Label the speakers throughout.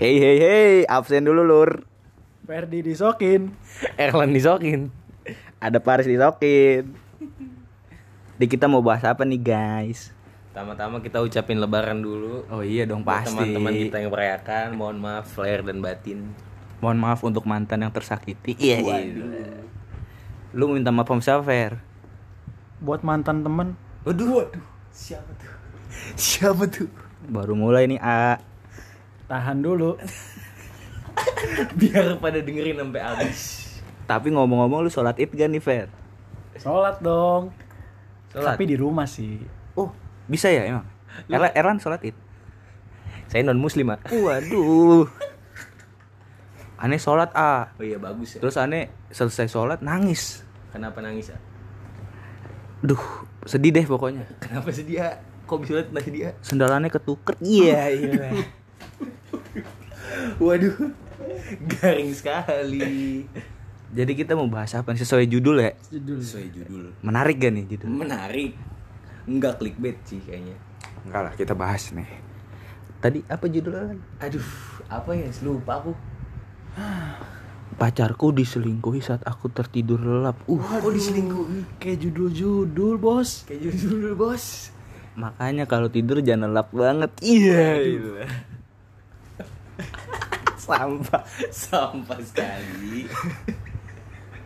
Speaker 1: Hey hey hey, absen dulu lur.
Speaker 2: Ferdi disokin.
Speaker 3: Erlan disokin.
Speaker 1: Ada Paris disokin. Di kita mau bahas apa nih guys?
Speaker 3: Tama-tama kita ucapin lebaran dulu.
Speaker 1: Oh iya dong
Speaker 3: Buat
Speaker 1: pasti.
Speaker 3: Teman-teman kita yang merayakan, mohon maaf lahir dan batin.
Speaker 1: Mohon maaf untuk mantan yang tersakiti. Iya. iya. Lu minta maaf sama siapa Fer?
Speaker 2: Buat mantan temen.
Speaker 3: Waduh,
Speaker 2: Siapa tuh?
Speaker 3: siapa tuh?
Speaker 1: Baru mulai nih A.
Speaker 2: Tahan dulu.
Speaker 3: Biar pada dengerin sampai habis.
Speaker 1: Tapi ngomong-ngomong lu sholat id gak nih Fer?
Speaker 2: Sholat dong.
Speaker 3: Sholat.
Speaker 2: Tapi di rumah sih.
Speaker 1: Oh bisa ya emang? Erlan, Erlan sholat id?
Speaker 3: Saya non muslim, ah.
Speaker 1: Waduh. Aneh sholat A.
Speaker 3: Oh iya bagus ya.
Speaker 1: Terus aneh selesai sholat nangis.
Speaker 3: Kenapa nangis, ah?
Speaker 1: Duh sedih deh pokoknya.
Speaker 3: Kenapa sih dia? Kok bisa lihat nasi dia?
Speaker 1: Sendalannya ketuker. Iya iya.
Speaker 3: Waduh. Garing sekali.
Speaker 1: Jadi kita mau bahas apa nih sesuai judul ya?
Speaker 2: Judul.
Speaker 3: Sesuai judul.
Speaker 1: Menarik gak nih judul?
Speaker 3: Menarik. Enggak clickbait sih kayaknya.
Speaker 1: Enggak lah kita bahas nih. Tadi apa judulnya lagi?
Speaker 3: Aduh, apa ya? Lupa aku.
Speaker 1: Pacarku diselingkuhi saat aku tertidur lelap. Uh,
Speaker 3: Kok diselingkuhi?
Speaker 2: Kayak judul-judul bos.
Speaker 3: Kayak judul bos.
Speaker 1: makanya kalau tidur jangan lelap banget. Iya. gitu. Sampah.
Speaker 3: Sampah sekali.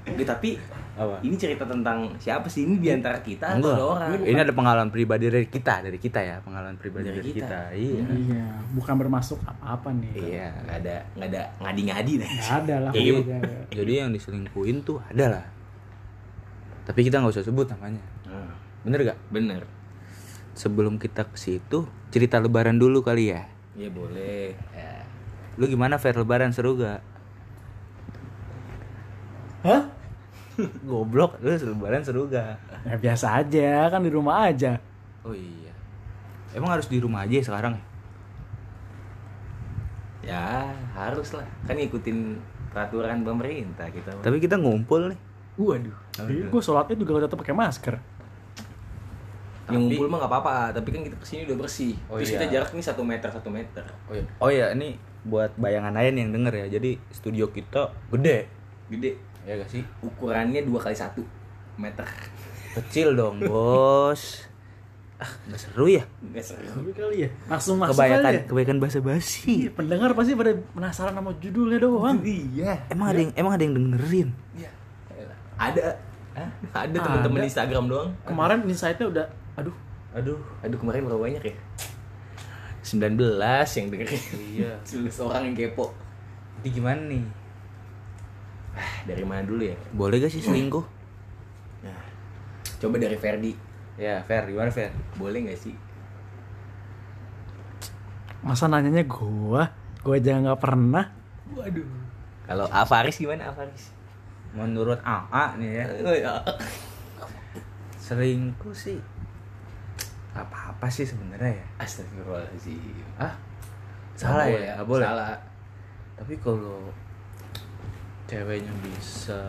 Speaker 3: Oke, tapi
Speaker 1: Apa?
Speaker 3: ini cerita tentang siapa sih ini diantara kita atau
Speaker 1: Enggak.
Speaker 3: ada orang?
Speaker 1: Ini ada pengalaman pribadi dari kita, dari kita ya, pengalaman pribadi dari,
Speaker 3: Dari
Speaker 1: kita.
Speaker 3: kita.
Speaker 1: Iya.
Speaker 2: Iya. Bukan bermasuk apa-apa nih.
Speaker 1: Iya.
Speaker 3: Ya, Nggak ada nggak ada ngadi-ngadi deh.
Speaker 2: Nggak ada lah.
Speaker 1: Jadi,
Speaker 2: nggak ada.
Speaker 1: jadi yang diselingkuhin tuh ada lah. Tapi kita nggak usah sebut namanya.
Speaker 3: Hmm,
Speaker 1: Bener gak?
Speaker 3: Bener.
Speaker 1: Sebelum kita ke situ, cerita lebaran dulu kali ya.
Speaker 3: Ya boleh. Ya.
Speaker 1: Lu gimana fair lebaran seru gak?
Speaker 2: Hah?
Speaker 1: Goblok, lu lebaran seru gak?
Speaker 2: Ya biasa aja kan di rumah aja.
Speaker 1: Oh iya. Emang harus di rumah aja ya sekarang ya?
Speaker 3: Ya, harus lah. Kan ngikutin peraturan pemerintah kita. mah.
Speaker 1: Tapi kita ngumpul nih.
Speaker 2: Waduh. Gue Iya, sholatnya juga tetap pakai masker.
Speaker 3: yang
Speaker 1: tapi-
Speaker 3: ngumpul mah nggak apa-apa, tapi kan kita kesini udah bersih.
Speaker 1: Oh
Speaker 3: Terus
Speaker 1: iya.
Speaker 3: kita jarak nih satu meter satu meter.
Speaker 1: Oh iya. Oh iya, ini buat bayangan aja nih yang denger ya. Jadi studio kita gede.
Speaker 3: Gede.
Speaker 1: Ya gak sih?
Speaker 3: Ukurannya dua kali satu meter.
Speaker 1: Kecil dong, Bos. Ah, gak seru ya?
Speaker 3: Nggak seru.
Speaker 2: kali ya. Langsung masuk
Speaker 1: kebanyakan
Speaker 2: kali ya.
Speaker 1: kebanyakan bahasa
Speaker 2: Iya,
Speaker 1: basi.
Speaker 2: pendengar pasti pada penasaran sama judulnya doang.
Speaker 3: Iya.
Speaker 1: Emang ada yang emang ada yang dengerin.
Speaker 3: Iya. Ada. Ada teman-teman
Speaker 2: Ada.
Speaker 3: Instagram doang.
Speaker 2: Kemarin insight-nya udah aduh,
Speaker 3: Aduh, aduh kemarin berapa banyak ya? 19 yang dengerin.
Speaker 1: Iya.
Speaker 3: Seorang yang kepo.
Speaker 1: Jadi gimana nih?
Speaker 3: Ah, Dari mana dulu ya?
Speaker 1: Boleh gak sih selingkuh?
Speaker 3: Nah, coba dari Ferdi.
Speaker 1: Ya, fair. Gimana fair?
Speaker 3: Boleh nggak sih?
Speaker 2: masa nanyanya gua? Gua aja nggak pernah.
Speaker 3: Waduh. Kalau Avaris gimana Avaris?
Speaker 1: Menurut AA nih ya,
Speaker 3: Oh, ya.
Speaker 1: selingkuh sih apa-apa sih sebenarnya ya.
Speaker 3: Astagfirullahaladzim.
Speaker 1: Ah, salah
Speaker 3: Nggak
Speaker 1: ya? Nggak boleh.
Speaker 3: Salah.
Speaker 1: Tapi kalau ceweknya bisa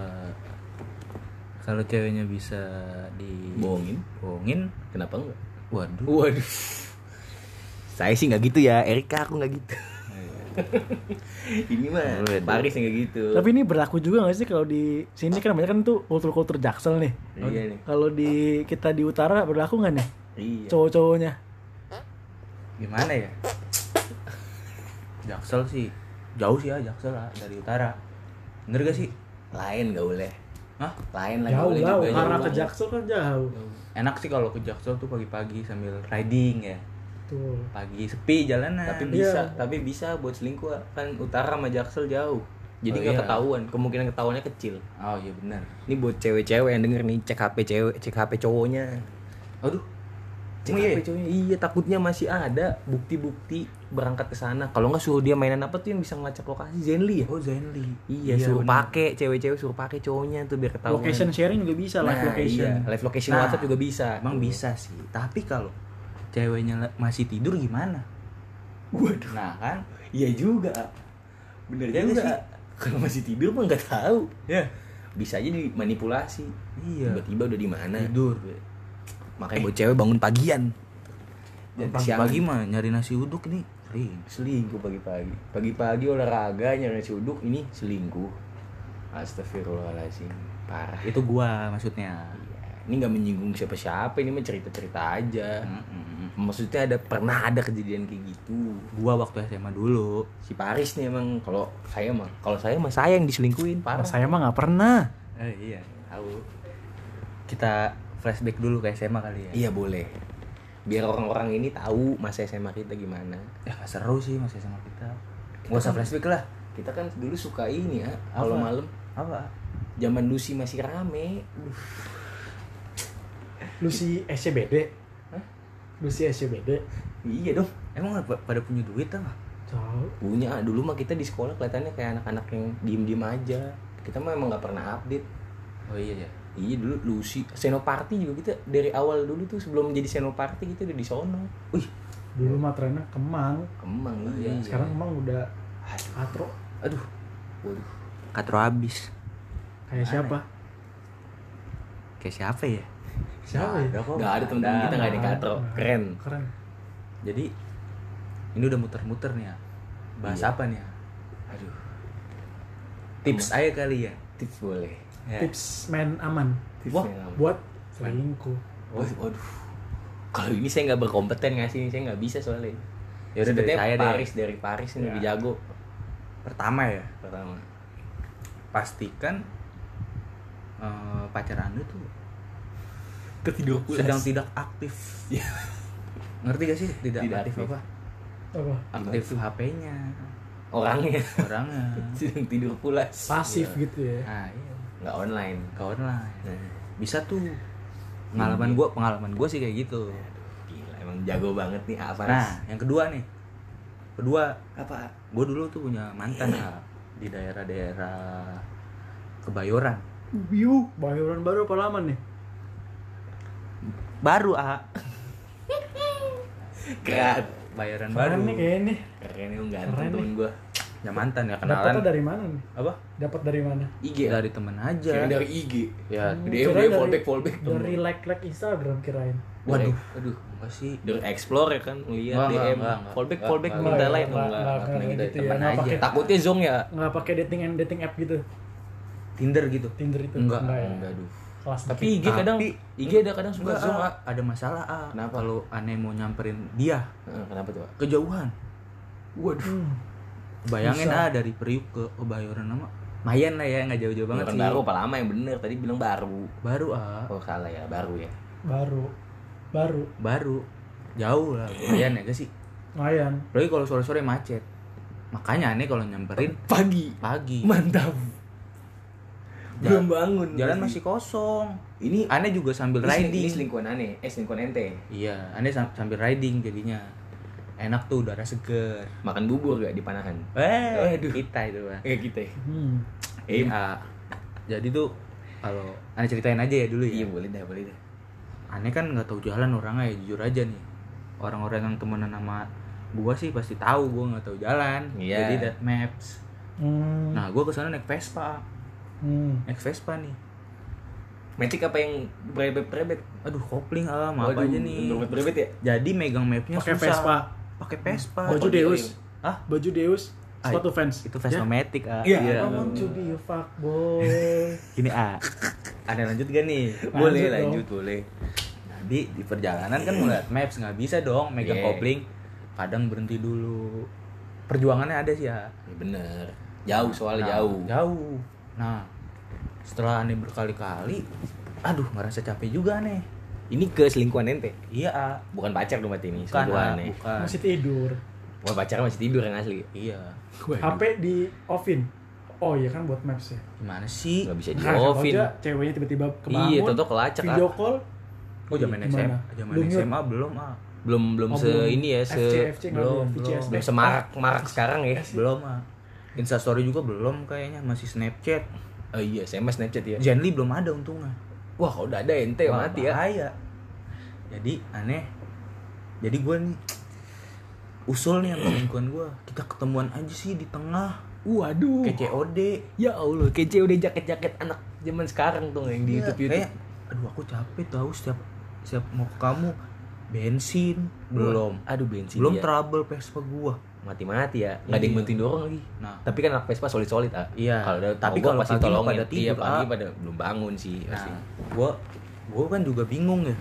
Speaker 1: kalau ceweknya bisa
Speaker 3: Bohongin?
Speaker 1: dibohongin,
Speaker 3: Kenapa enggak?
Speaker 1: waduh.
Speaker 3: Waduh. Saya sih nggak gitu ya, Erika aku nggak gitu. Ini mah
Speaker 1: Boleh dong.
Speaker 3: Paris nggak gitu.
Speaker 2: Tapi ini berlaku juga nggak sih kalau di sini kan banyak kan tuh kultur-kultur jaksel nih.
Speaker 3: iya nih.
Speaker 2: Kalau di kita di utara berlaku nggak nih
Speaker 3: Iya.
Speaker 2: cowok-cowoknya?
Speaker 1: gimana ya Jaksel sih jauh sih ya Jaksel lah dari utara bener gak sih
Speaker 3: Lain nggak boleh.
Speaker 1: Hah?
Speaker 3: Lain lagi Nah, boleh juga.
Speaker 2: arah
Speaker 3: jauh
Speaker 2: ke
Speaker 3: banget.
Speaker 2: jaksel kan jauh.
Speaker 1: enak sih kalau ke Jaksel tuh pagi-pagi sambil riding ya
Speaker 2: Tuh.
Speaker 1: pagi sepi jalanan
Speaker 3: Tapi
Speaker 2: Iya.
Speaker 3: bisa, tapi bisa buat selingkuh kan utara sama Jaksel jauh. Jadi
Speaker 1: Oh,
Speaker 3: nggak
Speaker 1: iya.
Speaker 3: ketahuan, kemungkinan ketahuannya kecil.
Speaker 1: oh iya bener
Speaker 3: Ini buat cewek-cewek yang denger nih cek HP cewek, cek HP cowoknya.
Speaker 1: aduh
Speaker 3: Cek
Speaker 1: Emang iya
Speaker 3: HP cowoknya. Iya, takutnya masih ada bukti-bukti berangkat ke sana. Kalau nggak suruh dia mainan apa tuh yang bisa ngelacak lokasi Zenly ya?
Speaker 1: oh Zainli
Speaker 3: Iya, suruh
Speaker 1: bener.
Speaker 3: pakai cewek-cewek suruh pakai cowoknya tuh biar ketahuan.
Speaker 2: Location sharing juga bisa, live
Speaker 3: Nah,
Speaker 2: location.
Speaker 3: iya. Live location
Speaker 1: Nah,
Speaker 3: WhatsApp juga bisa. Iya.
Speaker 1: emang bisa sih tapi kalau ceweknya la- masih tidur gimana
Speaker 3: Waduh.
Speaker 1: nah kan
Speaker 3: Iya juga. Bener
Speaker 1: Iya
Speaker 3: juga.
Speaker 1: nggak sih?
Speaker 3: ya Kalau masih tidur mah nggak tahu.
Speaker 1: ya
Speaker 3: Bisa aja dimanipulasi.
Speaker 1: Iya.
Speaker 3: Tiba-tiba udah di mana?
Speaker 1: tidur Eh.
Speaker 3: Makanya buat cewek bangun pagian.
Speaker 1: pagi-pagi mah nyari nasi uduk nih Anjing.
Speaker 3: selingkuh pagi-pagi pagi-pagi olahraga nyari nasi uduk ini selingkuh astagfirullahaladzim parah
Speaker 1: Itu gua maksudnya.
Speaker 3: Iya. ini nggak menyinggung siapa-siapa ini mah cerita-cerita aja
Speaker 1: Mm-mm.
Speaker 3: maksudnya ada pernah ada kejadian kayak gitu
Speaker 1: Gua waktu SMA dulu.
Speaker 3: si Paris nih emang kalau saya mah kalau saya mah saya yang diselingkuhin parah
Speaker 2: Mas Nah, saya mah nggak pernah.
Speaker 1: Eh, iya, tahu. Kita flashback dulu ke SMA kali ya.
Speaker 3: iya boleh biar orang-orang ini tahu masa SMA kita gimana
Speaker 1: Ya nggak seru sih masih SMA kita. kan
Speaker 3: nggak usah flashback lah kita kan dulu suka ini ya kalau
Speaker 1: Apa?
Speaker 3: malam
Speaker 1: Apa?
Speaker 3: zaman Lucy masih rame
Speaker 2: Lu si SCBD.
Speaker 3: Hah?
Speaker 2: Lu si SCBD.
Speaker 3: iya dong
Speaker 1: Emang pa- pada punya duit apa?
Speaker 2: Tahu.
Speaker 3: punya dulu mah kita di sekolah kelihatannya kayak anak-anak yang diem-diem aja kita mah emang nggak pernah update
Speaker 1: Oh iya ya.
Speaker 3: iya dulu Lucy Senoparty juga kita dari awal dulu tuh sebelum jadi Senoparty kita udah di sono wih
Speaker 2: Dulu mah trennya Kemang.
Speaker 3: kemang
Speaker 1: Iya.
Speaker 3: iya
Speaker 2: Sekarang Kemang udah
Speaker 3: aduh,
Speaker 2: atro
Speaker 3: aduh. waduh
Speaker 1: Katro habis.
Speaker 2: kayak siapa?
Speaker 1: Kayak siapa ya?
Speaker 2: Siapa ya? Nah,
Speaker 1: Nggak kok.
Speaker 3: nggak ada teman-teman kita nggak ada yang katro keren
Speaker 2: Keren.
Speaker 1: Jadi ini udah muter-muter nih ya. Bahas
Speaker 3: Iya.
Speaker 1: apa nih ya?
Speaker 3: aduh
Speaker 1: Tips aja kali ya.
Speaker 3: tips boleh
Speaker 1: Ya.
Speaker 2: Tips main aman
Speaker 3: tips
Speaker 1: Wah,
Speaker 3: memang.
Speaker 2: buat selingkuh.
Speaker 3: Wah, waduh kalau ini saya nggak berkompeten ngasih ini saya nggak bisa soalnya
Speaker 1: Ya udah dari
Speaker 3: Sebetulnya
Speaker 1: saya deh.
Speaker 3: Paris dari Paris ini
Speaker 1: Ya.
Speaker 3: lebih jago
Speaker 1: Pertama ya,
Speaker 3: pertama
Speaker 1: pastikan eh, pacar Anda tuh
Speaker 3: ketidur
Speaker 1: sedang tidak aktif.
Speaker 3: Iya.
Speaker 1: Ngerti gak sih tidak,
Speaker 3: Tidak
Speaker 1: aktif,
Speaker 3: aktif.
Speaker 1: apa?
Speaker 2: Apa?
Speaker 1: Aktif HP-nya,
Speaker 3: orangnya
Speaker 1: orangnya.
Speaker 3: sedang tidur pulas
Speaker 2: Pasif gitu ya.
Speaker 1: Nah, iya.
Speaker 3: nggak online Nah,
Speaker 1: Ke online. Bisa tuh
Speaker 3: Hmm.
Speaker 1: pengalaman gua, pengalaman gua sih kayak gitu.
Speaker 3: gila emang jago banget nih apa
Speaker 1: Nah, yang kedua nih. Kedua,
Speaker 3: apa
Speaker 1: gue dulu tuh punya mantan
Speaker 3: Iya.
Speaker 1: Al. di daerah-daerah Kebayoran.
Speaker 2: Wiu, bayoran baru apa lama nih?
Speaker 1: Baru, ah.
Speaker 3: keren
Speaker 1: Bayoran baru.
Speaker 2: Keren nih kayaknya nih.
Speaker 3: keren lu
Speaker 2: Keren
Speaker 3: ganteng
Speaker 2: nih.
Speaker 3: temen gua
Speaker 1: Ya mantan ya kenalan.
Speaker 2: Dapatnya dari mana nih?
Speaker 1: Apa?
Speaker 2: Dapat dari mana?
Speaker 3: IG ya?
Speaker 1: Dari temen aja.
Speaker 3: Kirain dari IG
Speaker 1: Ya,
Speaker 2: Hmm,
Speaker 3: DM,
Speaker 2: kirain
Speaker 3: DM, fallback, fallback.
Speaker 2: Dari like-like Instagram kirain.
Speaker 1: waduh,
Speaker 3: aduh
Speaker 1: enggak sih.
Speaker 3: dari explore ya kan
Speaker 1: Enggak,
Speaker 3: lihat
Speaker 1: enggak,
Speaker 3: DM
Speaker 1: enggak, enggak.
Speaker 3: fallback
Speaker 1: Enggak,
Speaker 3: fallback
Speaker 1: enggak,
Speaker 3: minta
Speaker 2: enggak,
Speaker 3: lain
Speaker 2: enggak,
Speaker 3: enggak
Speaker 2: enggak,
Speaker 3: enggak pernah
Speaker 2: enggak
Speaker 3: gitu
Speaker 2: gitu ya.
Speaker 1: temen
Speaker 2: Enggak
Speaker 1: aja.
Speaker 2: pakai
Speaker 3: takutnya zong ya
Speaker 2: nggak pakai dating and dating app gitu.
Speaker 1: Tinder gitu.
Speaker 2: Tinder itu
Speaker 1: Enggak,
Speaker 2: ya.
Speaker 3: enggak aduh
Speaker 2: Kelas
Speaker 3: tapi
Speaker 2: dikit.
Speaker 3: IG kadang
Speaker 1: Tapi-
Speaker 3: IG ada kadang suka
Speaker 1: Enggak,
Speaker 3: zong
Speaker 1: ah.
Speaker 3: ah.
Speaker 1: ada masalah, ah.
Speaker 3: Kenapa?
Speaker 1: Kalau aneh mau nyamperin dia
Speaker 3: Eh, kenapa tuh ah?
Speaker 1: kejauhan.
Speaker 3: waduh
Speaker 2: Hmm.
Speaker 1: Bayangin
Speaker 2: Bisa.
Speaker 1: ah dari Priuk ke Kebayoran nama Mayan lah ya, nggak jauh-jauh banget
Speaker 3: orang
Speaker 1: sih.
Speaker 3: kan baru apa lama yang bener tadi bilang baru
Speaker 1: Baru ah,
Speaker 3: oh salah ya baru ya
Speaker 2: baru baru
Speaker 1: baru. Jauh lah, lumayan ya gak sih?
Speaker 2: lumayan
Speaker 1: Lagi kalau sore-sore macet. Makanya aneh kalau nyamperin
Speaker 3: pagi
Speaker 1: pagi.
Speaker 3: mantap belum bangun
Speaker 1: Jalan masih kosong.
Speaker 3: ini
Speaker 1: Aneh juga sambil
Speaker 3: Ini seling- Ini
Speaker 1: riding.
Speaker 3: selingkuhan aneh, eh selingkuhan ente.
Speaker 1: Iya, aneh sam- sambil riding jadinya. Enak tuh udara seger.
Speaker 3: Makan bubur gak di panahan?
Speaker 1: Eh, kita itu Bang.
Speaker 3: Kayak kita. ya?
Speaker 2: hmm.
Speaker 3: Eh,
Speaker 1: Iya. Jadi tuh kalau aneh ceritain aja ya dulu ya.
Speaker 3: iya boleh dah, boleh dah.
Speaker 1: Aneh kan nggak tahu jalan orangnya ya jujur aja nih. Orang-orang yang temenan sama gua sih pasti tahu gua nggak tahu jalan.
Speaker 3: Iya.
Speaker 1: Jadi that maps.
Speaker 2: Hmm.
Speaker 1: Nah, gua kesana naik Vespa.
Speaker 2: Hmm.
Speaker 1: Naik Vespa nih.
Speaker 3: Metik apa yang berebet-berebet?
Speaker 1: Aduh, kopling ah, maaf aja nih.
Speaker 3: Berebet-berebet ya?
Speaker 1: Jadi megang mapnya
Speaker 2: pakai
Speaker 1: susah.
Speaker 2: Vespa
Speaker 1: Pakai Vespa.
Speaker 2: baju
Speaker 3: Oh,
Speaker 2: Deus
Speaker 1: Hah?
Speaker 2: baju Deus
Speaker 1: Ah,
Speaker 2: sepatu fans
Speaker 1: Itu Vespa
Speaker 2: Ya?
Speaker 1: Matic, ah.
Speaker 3: Iya.
Speaker 2: I want to be a fuckboy
Speaker 1: Gini, ah. Ada lanjut gak nih?
Speaker 3: boleh
Speaker 2: dong.
Speaker 3: lanjut, boleh.
Speaker 1: Jadi di perjalanan kan ngeliat maps nggak bisa dong megang
Speaker 3: Iya.
Speaker 1: kopling. Kadang berhenti dulu. Perjuangannya ada sih ya.
Speaker 3: Ya, bener. Jauh soalnya
Speaker 1: Nah,
Speaker 3: jauh.
Speaker 1: Jauh. Nah, setelah aneh berkali-kali, aduh ngerasa capek juga nih.
Speaker 3: Ini ke selingkuhan ente.
Speaker 1: Iya, ah.
Speaker 3: Bukan pacar dong berarti ini,
Speaker 1: Bukan, ah.
Speaker 3: selingkuhan ya.
Speaker 1: bukan.
Speaker 2: masih tidur
Speaker 3: Wah, pacar masih tidur yang asli.
Speaker 1: Iya.
Speaker 2: HP
Speaker 3: ya?
Speaker 2: di offin oh iya kan buat maps ya
Speaker 1: Gimana sih?
Speaker 3: Gak bisa di
Speaker 2: Nah, kalau
Speaker 3: offin.
Speaker 2: enggak, ceweknya tiba-tiba kebangun
Speaker 3: Iya, toto kelacak
Speaker 2: video
Speaker 3: ah.
Speaker 2: call
Speaker 1: Oh, zaman
Speaker 2: Gimana?
Speaker 1: SMA, zaman
Speaker 2: Belum yuk.
Speaker 1: SMA belum, ah.
Speaker 3: Belum belum
Speaker 2: Oh,
Speaker 3: se
Speaker 2: belum.
Speaker 3: ini ya, se
Speaker 2: FC, FC,
Speaker 1: belum,
Speaker 2: nggak ada,
Speaker 1: belum.
Speaker 2: VCS.
Speaker 3: belum semarak-marak sekarang ya.
Speaker 1: Belum, ah. Instastory juga belum kayaknya, masih Snapchat.
Speaker 3: Oh iya, SMS Snapchat ya.
Speaker 1: Zenly belum ada untungnya.
Speaker 3: Wah, kalau udah ada ente
Speaker 1: Wah,
Speaker 3: mati ya.
Speaker 1: bahaya. Jadi aneh. Jadi gue nih usul nih sama lingkungan gue kita ketemuan aja sih di tengah
Speaker 3: Waduh.
Speaker 1: kayak COD
Speaker 3: Ya Allah, kece udah jaket-jaket anak zaman sekarang tuh yang di
Speaker 1: Iya,
Speaker 3: YouTube YouTube.
Speaker 1: kayak, aduh aku capek tahu setiap setiap mau ke kamu bensin belum
Speaker 3: Aduh bensin iya.
Speaker 1: belum
Speaker 3: dia.
Speaker 1: trouble Vespa gua
Speaker 3: mati-mati ya. Nggak ada yang
Speaker 1: Iya.
Speaker 3: bantuin dorong lagi.
Speaker 1: nah
Speaker 3: Tapi kan anak Vespa solid-solid, ah.
Speaker 1: Iya.
Speaker 3: Kalau ada
Speaker 1: Tapi
Speaker 3: mogok
Speaker 1: kalau
Speaker 3: pasti
Speaker 1: pagi mah
Speaker 3: tolongin.
Speaker 1: pada
Speaker 3: Iya,
Speaker 1: tidur,
Speaker 3: pagi
Speaker 1: ah.
Speaker 3: pada belum bangun Iya sih pasti.
Speaker 1: nah gua gua kan juga bingung ya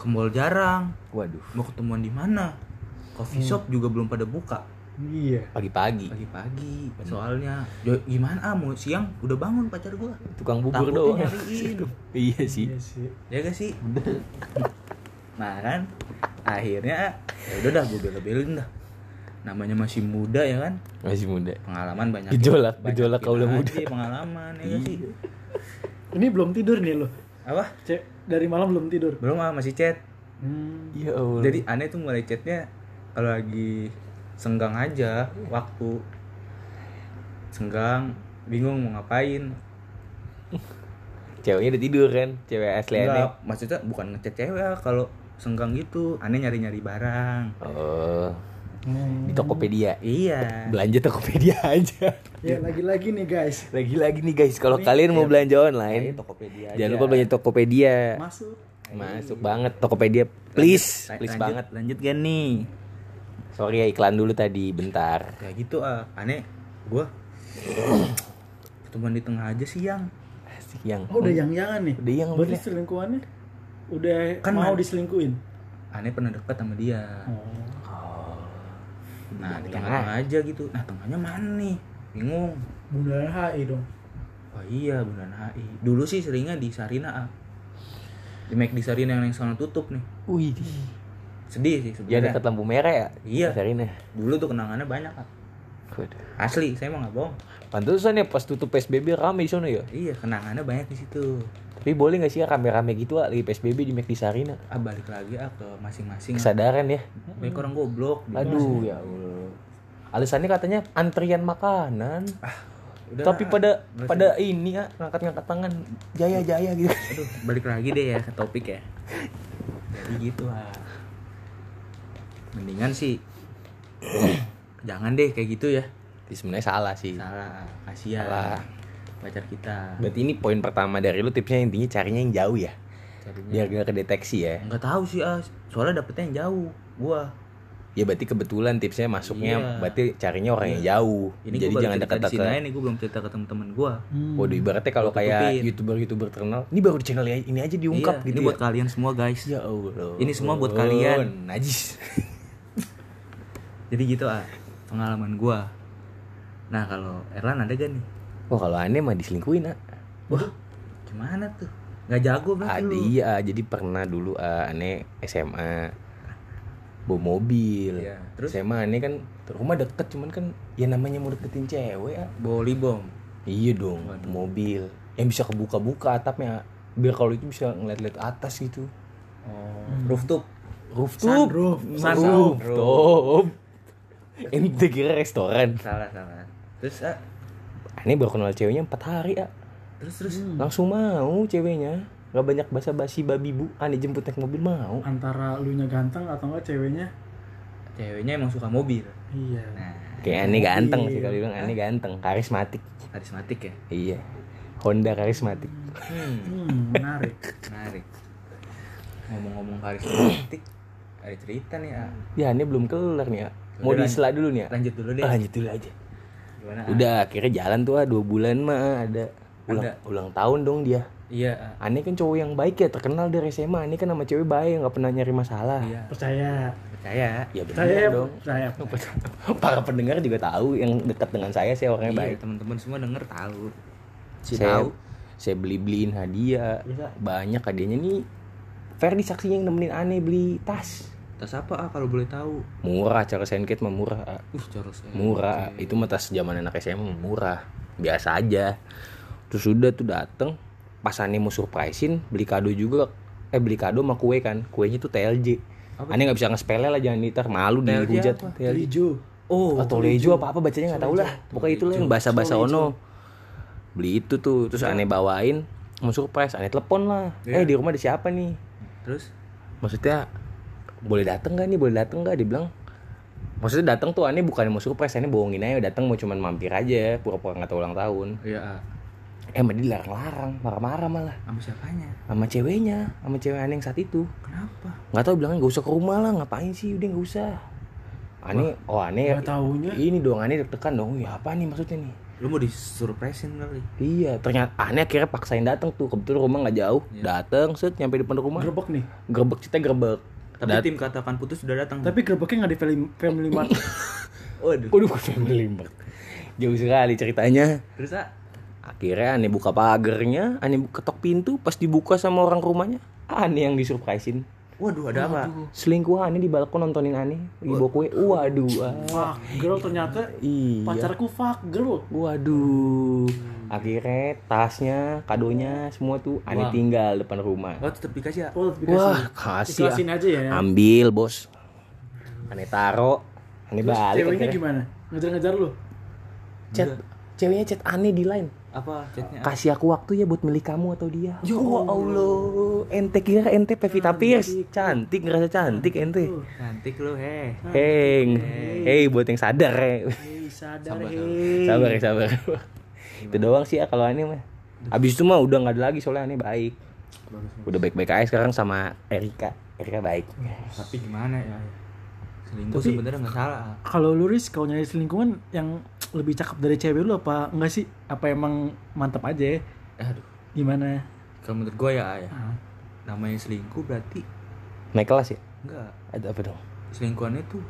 Speaker 1: ke mall jarang
Speaker 3: Waduh.
Speaker 1: mau ketemuan di mana
Speaker 3: Hmm.
Speaker 1: coffee shop juga belum pada buka
Speaker 2: Iya.
Speaker 3: Pagi-pagi
Speaker 1: pagi-pagi
Speaker 3: Bener.
Speaker 1: soalnya Jo- gimana ah mau siang udah bangun pacar gua
Speaker 3: tukang bubur
Speaker 1: Takutnya
Speaker 3: doang.
Speaker 1: nyariin.
Speaker 3: iya sih.
Speaker 2: Iya sih.
Speaker 1: ya gak sih nah kan akhirnya ya udah dah gue bela-belain dah namanya masih muda ya kan
Speaker 3: Masih muda.
Speaker 1: pengalaman banyak ya.
Speaker 3: Gejolak,
Speaker 1: banyak
Speaker 3: gejolak
Speaker 1: kita
Speaker 3: kaula
Speaker 1: aja
Speaker 3: muda. Iya.
Speaker 1: pengalaman ya gak sih
Speaker 2: Ini belum tidur nih lo.
Speaker 1: apa
Speaker 2: Cek dari malam belum tidur.
Speaker 1: belum ah masih chat
Speaker 2: Hmm.
Speaker 3: Ya Allah.
Speaker 1: jadi aneh tuh mulai chatnya kalau lagi senggang aja waktu senggang bingung mau ngapain
Speaker 3: ceweknya udah tidur kan, cewek asli aneh.
Speaker 1: Enggak, maksudnya bukan ngechat cewek ah, kalau senggang gitu aneh nyari-nyari barang
Speaker 3: Oh, di Tokopedia.
Speaker 1: iya
Speaker 3: Belanja Tokopedia aja.
Speaker 2: Ya lagi-lagi nih guys.
Speaker 3: Lagi-lagi nih guys, kalau kalian mau belanja online,
Speaker 1: Tokopedia
Speaker 3: jangan lupa belanja Tokopedia.
Speaker 2: Masuk.
Speaker 3: Masuk banget Tokopedia, please, please banget.
Speaker 1: lanjut gak nih
Speaker 3: Sorry ya iklan dulu tadi, bentar.
Speaker 1: kayak gitu ah aneh gua ketemuan di tengah aja siang
Speaker 3: Asik yang.
Speaker 2: Oh, udah yang jangan nih.
Speaker 3: Hmm. Udah yang
Speaker 2: Berarti
Speaker 3: bener.
Speaker 2: selingkuhannya udah
Speaker 1: Kan
Speaker 2: mau
Speaker 1: man-
Speaker 2: diselingkuin.
Speaker 1: aneh pernah dekat sama dia
Speaker 2: Oh. iya,
Speaker 1: nah di
Speaker 3: Yang
Speaker 1: tengah, aja gitu nah tengahnya mana nih bingung
Speaker 2: Bundaran HI dong.
Speaker 1: wah iya bulan HI dulu sih seringnya di Sarina ah di Mac di Sarina yang, yang sana tutup nih
Speaker 3: Wih,
Speaker 1: sedih sih
Speaker 3: ya
Speaker 1: sebenarnya
Speaker 3: dekat lampu merah ya?
Speaker 1: Iya.
Speaker 3: Sarina.
Speaker 1: dulu tuh kenangannya banyak ah
Speaker 3: Waduh.
Speaker 1: asli saya mau nggak bohong
Speaker 3: Pantesan ya pas tutup PSBB rame di sana ya.
Speaker 1: iya kenangannya banyak di situ
Speaker 3: Tapi boleh nggak sih ya rame-rame gitu ah, lagi PSBB di McD Sarina?
Speaker 1: ah balik lagi ah ke masing-masing ah.
Speaker 3: Kesadaran ya.
Speaker 1: banyak orang goblok di
Speaker 3: Aduh ya Allah. Alasannya katanya antrian makanan.
Speaker 1: Udah lah,
Speaker 3: Tapi pada
Speaker 1: nggak usah
Speaker 3: pada ini ya ngangkat-ngangkat tangan jaya-jaya gitu.
Speaker 1: Aduh, balik lagi deh ya ke topik ya. Jadi gitu ah. Mendingan sih jangan deh kayak gitu ya.
Speaker 3: Jadi sebenarnya salah sih.
Speaker 1: Salah, kasihan
Speaker 3: Salah.
Speaker 1: pacar kita.
Speaker 3: Berarti ini poin pertama dari lu tipsnya intinya carinya yang jauh ya.
Speaker 1: Carinya.
Speaker 3: Biar gak kedeteksi ya.
Speaker 1: Nggak tahu sih ah, soalnya dapetnya yang jauh. Gua
Speaker 3: Ya berarti kebetulan tipsnya masuknya
Speaker 1: Iya.
Speaker 3: berarti carinya orang yang jauh.
Speaker 1: ini
Speaker 3: Jadi
Speaker 1: gua baru cerita di
Speaker 3: jangan
Speaker 1: sini aja
Speaker 3: dekat-dekat.
Speaker 1: nih, gua belum cerita ke teman-teman gua.
Speaker 2: Hmm.
Speaker 3: Waduh ibaratnya kalau kayak
Speaker 1: Hmm. Tutupin.
Speaker 3: youtuber-youtuber terkenal, ini baru di channel ini aja diungkap
Speaker 1: Iya,
Speaker 3: gitu
Speaker 1: ini
Speaker 3: ya.
Speaker 1: buat kalian semua guys.
Speaker 3: Ya Allah.
Speaker 1: Ini semua buat kalian.
Speaker 3: Najis.
Speaker 1: Jadi gitu ah, pengalaman gua. Nah, kalau Erlan ada gak nih?
Speaker 3: Wah Oh, kalau aneh mah diselingkuin ah.
Speaker 1: Wah, gimana tuh? Gak jago berarti
Speaker 3: Ada
Speaker 1: lu.
Speaker 3: iya, jadi pernah dulu ah, aneh SMA bawa mobil.
Speaker 1: Iya, terus?
Speaker 3: SMA aneh kan rumah deket cuman kan ya namanya mau deketin cewek ah.
Speaker 1: Boli bom.
Speaker 3: Iya dong, mobil. Yang bisa kebuka-buka atapnya biar kalau itu bisa ngeliat-liat atas gitu.
Speaker 1: Oh, rooftop.
Speaker 3: Rooftop.
Speaker 2: Sunroof.
Speaker 1: Sunroof.
Speaker 3: Rooftop. Ente kira restoran.
Speaker 1: Salah, salah. Terus ah,
Speaker 3: Aneh baru kenal ceweknya 4 hari ah.
Speaker 1: terus terus.
Speaker 2: Hmm.
Speaker 3: Langsung mau ceweknya. Gak banyak basa-basi babi bu. Aneh jemput naik mobil mau.
Speaker 2: Antara lu nya ganteng atau enggak ceweknya?
Speaker 1: Ceweknya emang suka mobil.
Speaker 2: Iya.
Speaker 1: Nah,
Speaker 3: Kayak aneh ganteng sih kalau bilang aneh ganteng, karismatik.
Speaker 1: karismatik ya.
Speaker 3: Iya. Honda karismatik.
Speaker 1: Hmm,
Speaker 2: Hmm, menarik.
Speaker 1: menarik. Ngomong-ngomong karismatik, ada cerita nih, ah.
Speaker 3: Ya aneh belum kelar nih ya. Mau
Speaker 1: Udah,
Speaker 3: disela dulu nih ya.
Speaker 1: Lanjut dulu deh.
Speaker 3: Ah, lanjut dulu aja.
Speaker 1: Gimana? ah?
Speaker 3: Udah akhirnya jalan tuh ah dua bulan mah ah, ada ulang
Speaker 1: Ada.
Speaker 3: ulang tahun dong dia.
Speaker 1: Iya, ah.
Speaker 3: Aneh kan cowok yang baik ya terkenal dari SMA. Aneh kan sama cewek baik nggak pernah nyari masalah.
Speaker 1: iya.
Speaker 2: Percaya.
Speaker 1: Percaya.
Speaker 3: Ya
Speaker 2: Percaya
Speaker 3: benar dong.
Speaker 2: Percaya.
Speaker 3: Para pendengar juga tahu yang dekat dengan saya sih
Speaker 1: Iya,
Speaker 3: orangnya baik.
Speaker 1: teman-teman semua denger tahu. Si
Speaker 3: Saya,
Speaker 1: tahu.
Speaker 3: saya beli beliin hadiah.
Speaker 2: Bisa.
Speaker 3: Banyak hadiahnya nih. Ferdi saksinya yang nemenin aneh beli tas.
Speaker 1: Tas apa, ah, kalau boleh tahu?
Speaker 3: murah cara sengket mah murah A.
Speaker 1: Uh, coros. eh.
Speaker 3: murah itu mah tas zaman anak SMA mah murah biasa aja terus udah tuh dateng pas aneh mau surprisein beli kado juga eh beli kado sama kue kan kuenya tuh TLJ
Speaker 1: Apa
Speaker 3: aneh nggak bisa ngespelnya lah jangan ditar malu
Speaker 1: TLJ
Speaker 3: dihujat
Speaker 1: apa?
Speaker 3: TLJ
Speaker 2: Hijau.
Speaker 1: Oh,
Speaker 3: atau lejo apa apa bacanya nggak tahu lah pokoknya itulah yang bahasa bahasa ono beli itu tuh terus aneh bawain mau surprise aneh telepon lah eh di rumah ada siapa nih
Speaker 1: terus
Speaker 3: maksudnya boleh dateng gak nih boleh dateng gak dibilang maksudnya dateng tuh aneh bukan mau surprise aneh bohongin aja dateng mau cuman mampir aja pura-pura nggak tahu ulang tahun
Speaker 1: iya, ah.
Speaker 3: eh mah dilarang-larang marah-marah malah
Speaker 1: sama siapanya
Speaker 3: sama ceweknya sama cewek aneh yang saat itu
Speaker 1: kenapa
Speaker 3: nggak tahu bilangnya nggak usah ke rumah lah ngapain sih udah nggak usah aneh oh aneh
Speaker 4: Nggak taunya.
Speaker 3: ini dong aneh deg-degan dong ya apa nih maksudnya nih
Speaker 1: lu mau disurpresin kali
Speaker 3: iya ternyata aneh akhirnya paksain datang tuh kebetulan rumah nggak jauh
Speaker 1: Iya.
Speaker 3: datang set nyampe depan rumah
Speaker 4: Gerbek nih.
Speaker 3: gerbek cita gerbek
Speaker 1: tapi
Speaker 3: Dat-
Speaker 1: tim katakan putus sudah datang
Speaker 4: Tapi gerbeknya nggak di Family, family Mart.
Speaker 1: waduh
Speaker 3: Waduh, gue family Mart. Jauh sekali ceritanya.
Speaker 1: terus ah
Speaker 3: Akhirnya aneh buka pagernya, aneh bu- ketok pintu, pas dibuka sama orang rumahnya, aneh yang disurprisein.
Speaker 1: waduh ada apa
Speaker 3: Selingkuh aneh di balkon nontonin aneh, lagi bawa kue. Waduh, ah.
Speaker 4: fuck girl ternyata
Speaker 3: iya.
Speaker 4: pacarku fuck girl.
Speaker 3: Waduh. Akhirnya tasnya, kadonya, semua tuh aneh
Speaker 1: Wah.
Speaker 3: tinggal depan rumah.
Speaker 1: oh tetap dikasih ya
Speaker 4: Oh, tapi kasih.
Speaker 3: Wah, kasih.
Speaker 4: Ikhlasin
Speaker 3: ah.
Speaker 4: aja ya.
Speaker 3: Ambil, Bos. Aneh taro, aneh
Speaker 4: Terus
Speaker 3: balik.
Speaker 4: ceweknya
Speaker 3: akhirnya.
Speaker 4: gimana? Ngejar-ngejar lu.
Speaker 3: Chat, ceweknya chat aneh di line.
Speaker 1: apa chatnya ah?
Speaker 3: kasih aku waktu ya buat milih kamu atau dia ya Allah ente kira ente Pevita Pierce cantik ngerasa cantik ente
Speaker 4: Tuh.
Speaker 1: cantik lu heh
Speaker 3: Heng, hey buat yang sadar ya.
Speaker 4: Hei, sadar
Speaker 1: Sabar,
Speaker 4: hei.
Speaker 3: Sabar ya sabar. Itu doang sih ya kalau aneh mah. Abis itu mah udah nggak ada lagi soalnya aneh baik.
Speaker 1: bagus
Speaker 3: Udah baik-baik aja sekarang sama Erika. Erika baik.
Speaker 1: tapi gimana ya selingkuh sebenarnya nggak salah ah.
Speaker 2: Kalau lu Riz, kalau nyari selingkuhan yang lebih cakep dari cewek lu apa enggak sih? Apa emang mantap aja? ya?
Speaker 1: aduh
Speaker 2: Gimana?
Speaker 1: kalau menurut gue ya ya
Speaker 2: Ah.
Speaker 1: namanya selingkuh berarti
Speaker 3: Naik kelas ya?
Speaker 1: enggak
Speaker 3: Ada apa dong?
Speaker 1: selingkuhannya tuh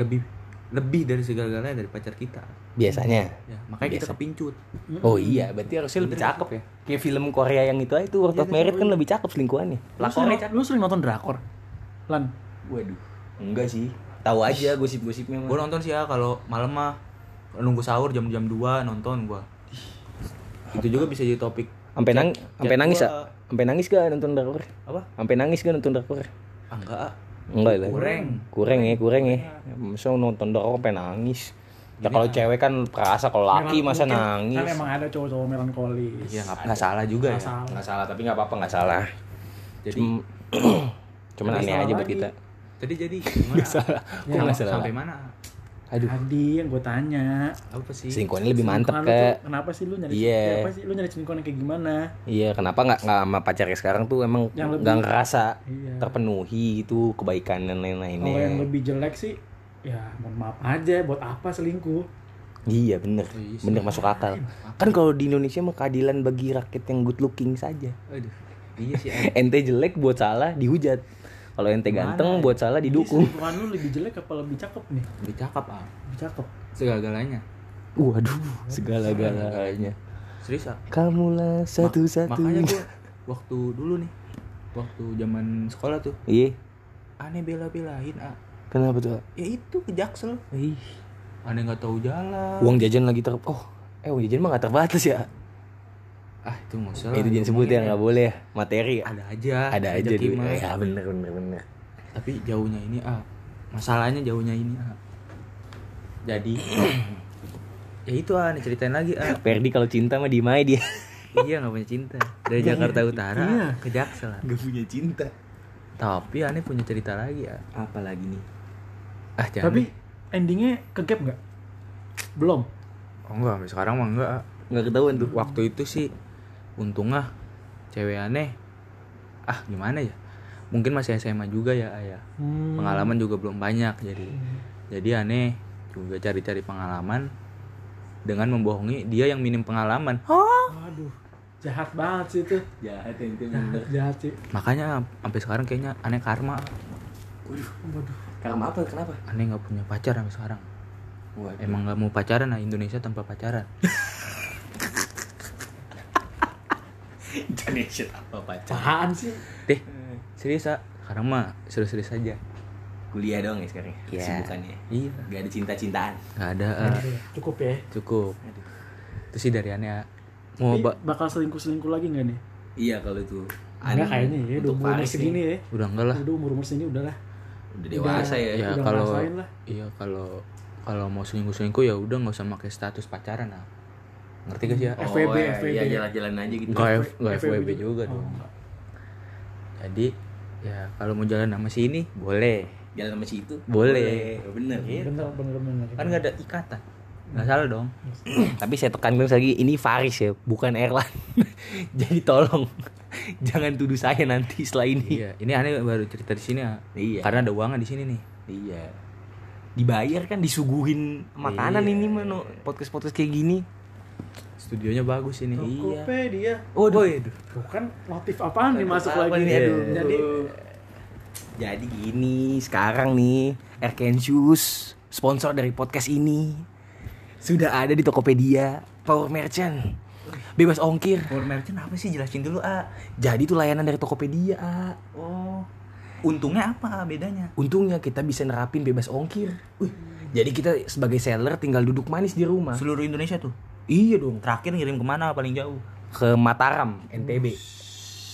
Speaker 1: lebih lebih dari segala-galanya dari pacar kita
Speaker 3: Biasanya.
Speaker 1: ya makanya kita
Speaker 3: Biasa.
Speaker 1: kepincut
Speaker 3: Oh iya, berarti harusnya lebih cakep ya. Kayak film Korea yang itu aja itu World of Merit kan lebih cakep selingkuhannya.
Speaker 2: Lu sering, lu sering nonton drakor? Lan,
Speaker 3: Waduh, enggak sih. Tahu aja gosip-gosipnya mah.
Speaker 1: gue nonton sih ya kalau malam mah nunggu sahur jam-jam 2 nonton gua itu juga bisa jadi topik
Speaker 3: Sampai nang sampai
Speaker 1: chat
Speaker 3: nangis
Speaker 1: gua-
Speaker 3: ah? Sampai nangis gak nonton drakor?
Speaker 1: Apa?
Speaker 3: Sampai nangis gak nonton drakor?
Speaker 1: ah enggak ah.
Speaker 3: Enggak lah.
Speaker 1: Kurang.
Speaker 3: Kurang ya, kurang ya. Masa nonton drakor sampai nangis. Ya kalau cewek kan perasa kalau laki
Speaker 4: Melan-
Speaker 3: masa
Speaker 4: mungkin Kan
Speaker 3: nangis.
Speaker 4: emang ada cowok-cowok melankolis.
Speaker 1: iya nggak nggak salah juga ya
Speaker 4: Salah.
Speaker 3: Enggak salah, tapi enggak apa-apa enggak salah.
Speaker 1: jadi
Speaker 3: Cuma- Cuman
Speaker 4: Tapi
Speaker 3: aneh
Speaker 4: salah
Speaker 3: aja buat
Speaker 4: lagi.
Speaker 3: kita. Iya,
Speaker 1: tadi jadi gimana
Speaker 3: Salah. Kok
Speaker 1: Sampai-
Speaker 3: enggak salah?
Speaker 1: sampai mana
Speaker 3: Aduh,
Speaker 4: Tadi yang gue tanya.
Speaker 1: apa sih
Speaker 3: selingkuhannya lebih mantep
Speaker 4: Selingkuhan lu
Speaker 3: ke.
Speaker 4: tuh Kenapa sih lu nyari?
Speaker 3: Iya.
Speaker 4: Kenapa sih lu nyari selingkuhan yang kayak gimana?
Speaker 3: Iya, kenapa nggak nggak sama pacarnya sekarang tuh emang
Speaker 4: Yang lebih-
Speaker 3: nggak ngerasa
Speaker 4: Iya.
Speaker 3: terpenuhi itu kebaikan dan
Speaker 4: Kalau
Speaker 2: Oh,
Speaker 4: yang
Speaker 3: lain-lainnya.
Speaker 4: lebih jelek sih, ya mohon maaf aja. Buat apa selingkuh?
Speaker 3: Iya bener,
Speaker 1: Iya sih.
Speaker 3: bener masuk akal. Kan kalau di Indonesia mah keadilan bagi rakyat yang good looking saja.
Speaker 1: aduh iya sih Em.
Speaker 3: Ente jelek buat salah dihujat. Kalau ente
Speaker 1: Gimana ya?
Speaker 3: ganteng buat salah
Speaker 2: Iya
Speaker 4: Jadi
Speaker 3: didukung.
Speaker 4: selingkuhan lu lebih jelek apa lebih cakep nih?
Speaker 1: lebih cakep ah
Speaker 4: Lebih cakep.
Speaker 1: segala-galanya
Speaker 3: Waduh, segala-galanya.
Speaker 1: serius ah
Speaker 3: Kamulah
Speaker 1: makanya
Speaker 3: satu-satunya.
Speaker 1: gua waktu dulu nih waktu zaman sekolah tuh
Speaker 3: Iya,
Speaker 1: aneh bela-belain ah
Speaker 3: kenapa tuh?
Speaker 1: ya itu ke jaksel
Speaker 3: Ih,
Speaker 1: aneh nggak tahu jalan
Speaker 3: Uang jajan lagi ter... Oh, eh uang jajan mah nggak terbatas ya?
Speaker 1: ah itu nggak usah lah,
Speaker 3: Itu jangan sebut ya,
Speaker 1: ngomongin.
Speaker 3: nggak boleh ya. Materi ya.
Speaker 1: ada aja
Speaker 3: ada aja
Speaker 1: rezeki
Speaker 3: dulu.
Speaker 1: mah.
Speaker 3: Ya bener bener bener.
Speaker 1: tapi jauhnya ini ah masalahnya jauhnya ini ah jadi ya itu ah nih ceritain lagi ah
Speaker 3: Perdi kalau cinta mah dimai dia.
Speaker 1: iya nggak punya cinta dari
Speaker 3: Iya,
Speaker 1: Jakarta Utara ke Jaksel ah.
Speaker 3: Gak punya cinta.
Speaker 1: tapi aneh punya cerita lagi ah
Speaker 3: Apalagi nih?
Speaker 1: ah
Speaker 3: Ya,
Speaker 1: jangan
Speaker 4: Tapi endingnya ke gap nggak? Belum.
Speaker 1: oh enggak sampai sekarang mah enggak ah.
Speaker 3: Nggak ketahuan tuh.
Speaker 1: waktu itu sih untung ah cewek aneh ah gimana ya mungkin masih SMA juga ya ayah
Speaker 4: Hmm.
Speaker 1: pengalaman juga belum banyak jadi
Speaker 3: Hmm.
Speaker 1: jadi aneh juga cari-cari pengalaman dengan membohongi dia yang minim pengalaman
Speaker 3: Oh.
Speaker 4: Waduh, jahat banget sih itu.
Speaker 3: Jahat ya, itu
Speaker 4: Jahat, jahat sih.
Speaker 1: makanya sampai sekarang kayaknya aneh karma
Speaker 4: Waduh.
Speaker 3: Karma apa? Kenapa?
Speaker 1: aneh nggak punya pacar sampai sekarang
Speaker 3: Waduh.
Speaker 1: emang nggak mau pacaran nah Indonesia tanpa pacaran
Speaker 3: Indonesia apa pacar?
Speaker 4: Apaan sih?
Speaker 1: deh serius ah sekarang mah serius-serius saja
Speaker 3: Kuliah doang ya sekarang.
Speaker 1: Iya.
Speaker 3: Kesibukannya.
Speaker 1: iya
Speaker 3: Gak ada cinta-cintaan.
Speaker 1: nggak ada
Speaker 3: Eh.
Speaker 1: ah.
Speaker 4: Aduh, Cukup ya.
Speaker 1: cukup
Speaker 3: Aduh.
Speaker 1: itu sih dari aneh ah. mau
Speaker 4: Tapi
Speaker 1: ba-
Speaker 4: bakal selingkuh-selingkuh lagi nggak nih?
Speaker 3: Iya kalau itu.
Speaker 4: Enggak kayaknya ya, udah
Speaker 3: Untuk
Speaker 4: umur umur
Speaker 3: Paris
Speaker 4: segini
Speaker 3: nih.
Speaker 4: ya.
Speaker 1: udah enggak lah
Speaker 4: Udah umur umur segini udahlah.
Speaker 3: Udah dewasa
Speaker 4: Iya.
Speaker 3: ya.
Speaker 1: ya
Speaker 4: udah
Speaker 1: kalau
Speaker 4: ngerasain lah.
Speaker 1: iya kalau kalau mau selingkuh-selingkuh ya udah nggak usah pakai status pacaran ah ngerti gak sih ya?
Speaker 4: FWB,
Speaker 3: ya,
Speaker 4: FWB.
Speaker 3: Iya jalan-jalan aja gitu.
Speaker 1: Nggak F-
Speaker 4: F-
Speaker 1: nggak
Speaker 4: FWB
Speaker 1: FWB juga
Speaker 4: juga.
Speaker 1: dong.
Speaker 4: Oh.
Speaker 1: Jadi ya kalau mau jalan sama si ini boleh.
Speaker 3: Jalan sama si itu.
Speaker 1: Boleh.
Speaker 3: Bener. Kan
Speaker 1: Iya.
Speaker 4: Bener bener bener.
Speaker 1: Kan nggak ada ikatan. nggak salah dong
Speaker 4: Iya.
Speaker 3: Tapi saya tekankan lagi ini Faris ya, bukan airline. Jadi tolong jangan tuduh saya nanti setelah ini.
Speaker 1: iya ini aneh baru cerita di sini ya
Speaker 3: Iya.
Speaker 1: karena ada uangan di sini nih
Speaker 3: Iya. Dibayar kan disuguhin makanan ini mano podcast-podcast kayak gini.
Speaker 1: studionya bagus ini Iya.
Speaker 4: Tokopedia.
Speaker 3: Waduh.
Speaker 4: Tuh kan notif apaan nih
Speaker 3: Notif
Speaker 4: masuk
Speaker 3: apa
Speaker 4: lagi?
Speaker 3: nih? Aduh.
Speaker 4: Jadi
Speaker 3: Jadi gini, sekarang nih Erkensius sponsor dari podcast ini sudah ada di Tokopedia Power Merchant. Bebas ongkir.
Speaker 1: Power Merchant apa sih jelasin dulu ah
Speaker 3: Jadi itu layanan dari Tokopedia. A.
Speaker 1: oh untungnya apa bedanya
Speaker 3: Untungnya kita bisa nerapin bebas ongkir. Wih, Jadi kita sebagai seller tinggal duduk manis di rumah.
Speaker 1: seluruh Indonesia tuh
Speaker 3: Iya dong.
Speaker 1: terakhir ngirim kemana paling jauh
Speaker 3: Ke Mataram, NTB.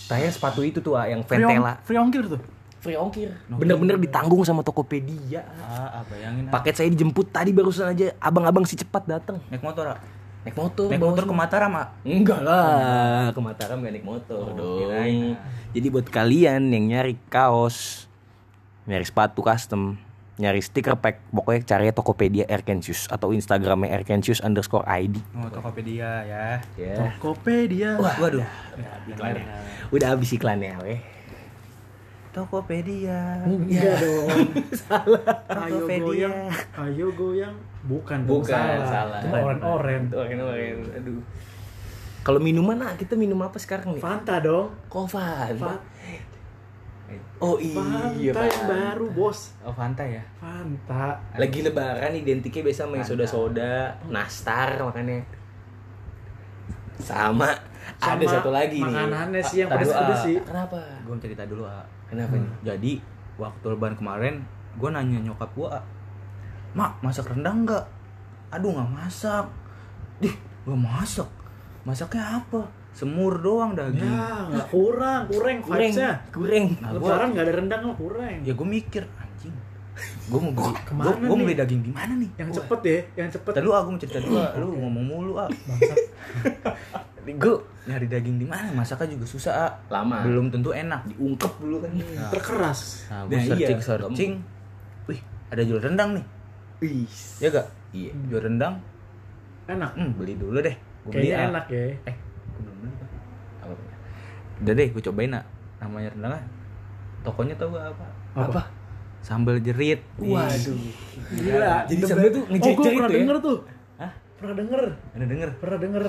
Speaker 3: Tanya sepatu itu tuh ah, yang
Speaker 2: Free ong-
Speaker 3: Ventela.
Speaker 2: Free ongkir tuh.
Speaker 3: Free ongkir. Bener-bener ditanggung sama Tokopedia.
Speaker 1: ah ah, bayangin ah.
Speaker 3: Paket saya dijemput tadi barusan aja abang-abang si cepat datang.
Speaker 1: naik motor ah
Speaker 3: Naik motor.
Speaker 1: naik
Speaker 3: bawa
Speaker 1: motor ke
Speaker 3: semua.
Speaker 1: Mataram ah
Speaker 3: Enggak lah, ke Mataram gak naik motor dong.
Speaker 1: kirain.
Speaker 3: Jadi buat kalian yang nyari kaos, nyari sepatu custom, nyari stiker pack, pokoknya cari Tokopedia Erkensius atau Instagramnya Erkensius underscore ID.
Speaker 1: oh Tokopedia ya
Speaker 3: Ya.
Speaker 2: Tokopedia.
Speaker 1: waduh
Speaker 3: Udah habis iklannya, weh.
Speaker 1: Tokopedia
Speaker 4: enggak dong. Ayo
Speaker 1: Tokopedia
Speaker 4: goyang. Ayo goyang. Bukan. dong,
Speaker 3: Bukan, salah.
Speaker 4: Itu Oren-oren.
Speaker 3: Aduh. Kalau minuman ah, kita minum apa sekarang nih?
Speaker 4: Fanta dong.
Speaker 3: Kovan.
Speaker 4: Fa-
Speaker 3: Oh iya.
Speaker 4: Fanta yang
Speaker 3: Pak.
Speaker 4: baru bos.
Speaker 1: oh Fanta ya
Speaker 4: Fanta.
Speaker 3: Lagi lebaran identiknya biasa main soda-soda, nastar makanya. Sama, ada
Speaker 4: Sama
Speaker 3: satu lagi nih.
Speaker 4: makanannya sih yang
Speaker 3: Tadu,
Speaker 4: pedes-pedes
Speaker 3: ah.
Speaker 4: sih.
Speaker 3: Kenapa?
Speaker 1: gue cerita dulu ah
Speaker 3: Kenapa nih?
Speaker 1: jadi waktu lebaran kemarin gue nanya nyokap gue ah, mak masak rendang nggak aduh nggak masak dih nggak masak masaknya apa semur doang daging
Speaker 4: Ya, nggak kurang, kurang
Speaker 3: Kureng,
Speaker 4: vibes-nya.
Speaker 3: kureng.
Speaker 1: Nah, gua-
Speaker 4: Lebaran nggak ada rendang lo kurang.
Speaker 1: ya gue mikir anjing gue mau beli
Speaker 4: Kemana
Speaker 1: gue mau
Speaker 4: nih?
Speaker 1: beli daging di mana nih
Speaker 4: Yang
Speaker 1: Wah,
Speaker 4: cepet deh, yang cepet.
Speaker 1: Ntar lu aku mau cerita dulu, ah. lu ngomong mulu ah. gue nyari daging di mana? Masaknya juga susah ah.
Speaker 3: Lama.
Speaker 1: Belum tentu enak.
Speaker 3: Diungkep dulu kan.
Speaker 4: Terkeras.
Speaker 1: Nah,
Speaker 3: Nah,
Speaker 1: gue
Speaker 3: iya.
Speaker 1: searching searching. Wih, ada jual rendang nih.
Speaker 3: Ih.
Speaker 1: Ya gak?
Speaker 3: Iya.
Speaker 1: Jual rendang.
Speaker 4: Enak.
Speaker 1: Hmm, beli dulu deh. Gua beli
Speaker 4: Kayaknya
Speaker 1: ah.
Speaker 4: enak ya.
Speaker 1: Eh, gua belum beli. Pak. Apa? Udah deh, gue cobain ah. Namanya rendang ah. Tokonya tau gak apa?
Speaker 4: Apa?
Speaker 1: Sambal jerit. iya.
Speaker 3: Waduh.
Speaker 4: Gila.
Speaker 3: Jadi
Speaker 4: the
Speaker 3: sebenarnya
Speaker 4: best.
Speaker 3: tuh ngejejer
Speaker 4: Oh, gue pernah
Speaker 3: itu ya?
Speaker 4: denger tuh.
Speaker 1: Hah?
Speaker 4: Pernah denger.
Speaker 1: Ada denger?
Speaker 4: Pernah denger.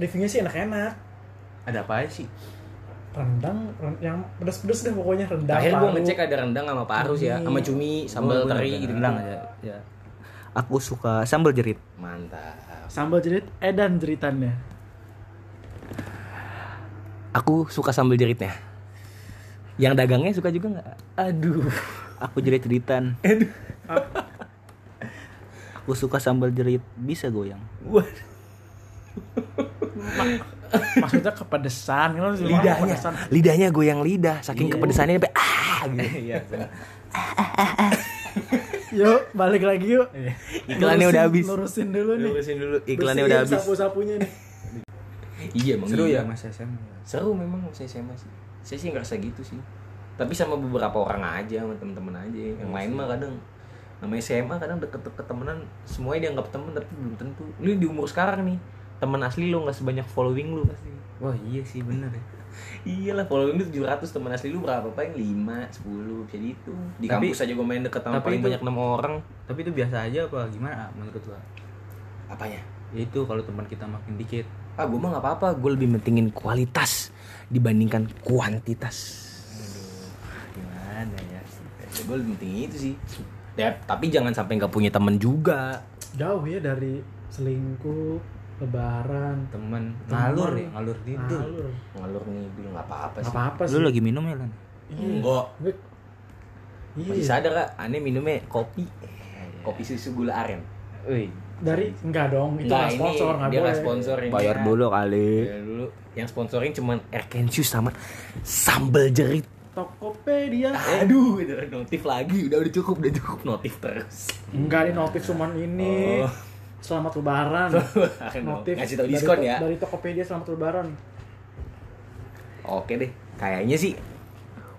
Speaker 4: Definisi enak-enak.
Speaker 1: Ada apa sih?
Speaker 4: Rendang, ren- yang pedes-pedes deh pokoknya rendang.
Speaker 3: Terakhir gua
Speaker 4: paru.
Speaker 3: ngecek ada rendang sama parus ya, sama cumi, sambal
Speaker 1: Gua- gua
Speaker 3: teri
Speaker 1: nyari
Speaker 3: gitu.
Speaker 1: Rendang aja. Ya. Aku suka sambal jerit.
Speaker 3: Mantap.
Speaker 2: Sambal jerit edan jeritannya.
Speaker 3: Aku suka sambal jeritnya. Yang dagangnya suka juga nggak? Aduh.
Speaker 1: Aku jerit jeritan. Aku suka sambal jerit bisa goyang.
Speaker 2: Maksudnya kepedesan kan harus dimakan
Speaker 3: lidahnya Iya.
Speaker 2: kepedesan.
Speaker 3: lidahnya goyang lidah saking kepedesannya sampai ah gitu.
Speaker 2: Yuk, balik lagi yuk.
Speaker 3: Iklannya udah habis.
Speaker 2: Lurusin dulu nih.
Speaker 3: Lurusin dulu
Speaker 4: Iya. Bersihin Sapu-sapunya nih.
Speaker 3: Iya emang
Speaker 1: Seru
Speaker 3: iya.
Speaker 1: ya Mas SM.
Speaker 3: Seru memang mas SMA sih. Saya sih ngerasa gitu sih. Tapi sama beberapa orang aja, sama temen-temen aja. Yang
Speaker 1: Iya
Speaker 3: lain mah kadang namanya SMA kadang deket-deket temenan semuanya dianggap temen tapi belum tentu lu di umur sekarang nih temen asli lu nggak sebanyak following lu pasti
Speaker 1: Wah iya sih bener ya.
Speaker 3: iyalah following lu 700 temen asli lu berapa paling 5, 10 jadi itu gitu. di
Speaker 1: Tapi-
Speaker 3: kampus aja gue main deket sama
Speaker 1: tapi
Speaker 3: paling
Speaker 1: itu-
Speaker 3: banyak enam orang
Speaker 1: Tapi itu biasa aja apa gimana ah, menurut lo?
Speaker 3: apanya
Speaker 1: Ya itu kalau teman kita makin dikit.
Speaker 3: ah gue mah nggak apa-apa gue lebih mentingin kualitas dibandingkan kuantitas
Speaker 1: Gimana ya?
Speaker 3: gue lebih penting itu sih ya, tapi jangan sampai nggak punya temen juga
Speaker 4: Jauh ya dari selingkuh, lebaran,
Speaker 1: Temen
Speaker 4: Temen.
Speaker 1: ngalur ya, ngalur tidur.
Speaker 4: alur.
Speaker 3: ngalur ngidul nggak apa-apa sih
Speaker 4: Apa-apa
Speaker 1: Lu
Speaker 4: sih.
Speaker 1: lagi minum ya Lan?
Speaker 3: enggak
Speaker 4: Gue-
Speaker 3: Oh.
Speaker 4: Iya.
Speaker 3: masih sadar kak aneh minumnya kopi kopi susu gula aren
Speaker 1: Wih,
Speaker 4: Dari enggak dong, itu
Speaker 3: Nggak,
Speaker 4: nggak sponsor, enggak
Speaker 3: Nah, dia
Speaker 4: boleh.
Speaker 3: nggak sponsor ini
Speaker 1: bayar dulu kali.
Speaker 3: Bayar dulu yang sponsorin cuman Erkensius sama sambal jerit
Speaker 4: Tokopedia.
Speaker 3: aduh udah notif lagi udah udah cukup udah cukup notif terus
Speaker 4: Enggak, ini notif cuman ini.
Speaker 3: Oh.
Speaker 4: Selamat lebaran.
Speaker 3: notif ngasih tau diskon
Speaker 4: dari,
Speaker 3: ya
Speaker 4: Dari Tokopedia selamat lebaran.
Speaker 3: Oke deh, kayaknya sih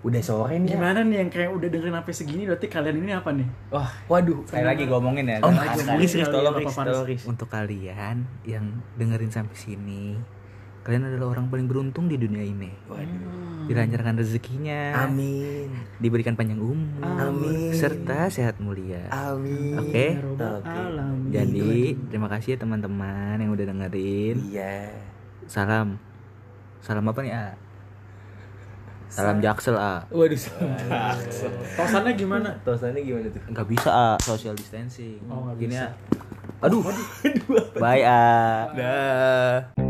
Speaker 1: udah sore nih ya.
Speaker 2: Gimana nih yang kayak udah dengerin sampai segini berarti kalian ini apa nih?
Speaker 1: wah waduh
Speaker 2: Sekali lagi
Speaker 1: ngomongin ya
Speaker 2: Oh,
Speaker 1: oh,
Speaker 3: Ah,
Speaker 2: sekali lagi.
Speaker 1: Riz, Riz, tolong
Speaker 2: Apa
Speaker 1: Riz,
Speaker 2: Faris?
Speaker 1: tolong, Riz. untuk kalian yang dengerin sampai sini kalian adalah orang paling beruntung di dunia ini dilancarkan rezekinya
Speaker 3: Amin.
Speaker 1: diberikan panjang umur
Speaker 3: Amin.
Speaker 1: serta sehat mulia
Speaker 3: Amin.
Speaker 1: Oke.
Speaker 2: Ya Rabbal
Speaker 3: Oke.
Speaker 2: Alamin.
Speaker 1: Jadi terima kasih ya teman-teman yang udah dengerin.
Speaker 3: Iya.
Speaker 1: Salam. Salam apa nih, A? Salam Jaksel, A.
Speaker 4: Waduh, salah.
Speaker 2: tosannya gimana?
Speaker 3: Tosannya gimana tuh?
Speaker 1: Enggak bisa, A. Social distancing.
Speaker 2: Oh, nggak
Speaker 1: Gini,
Speaker 2: bisa.
Speaker 1: A. Aduh. Bye, A. Dah.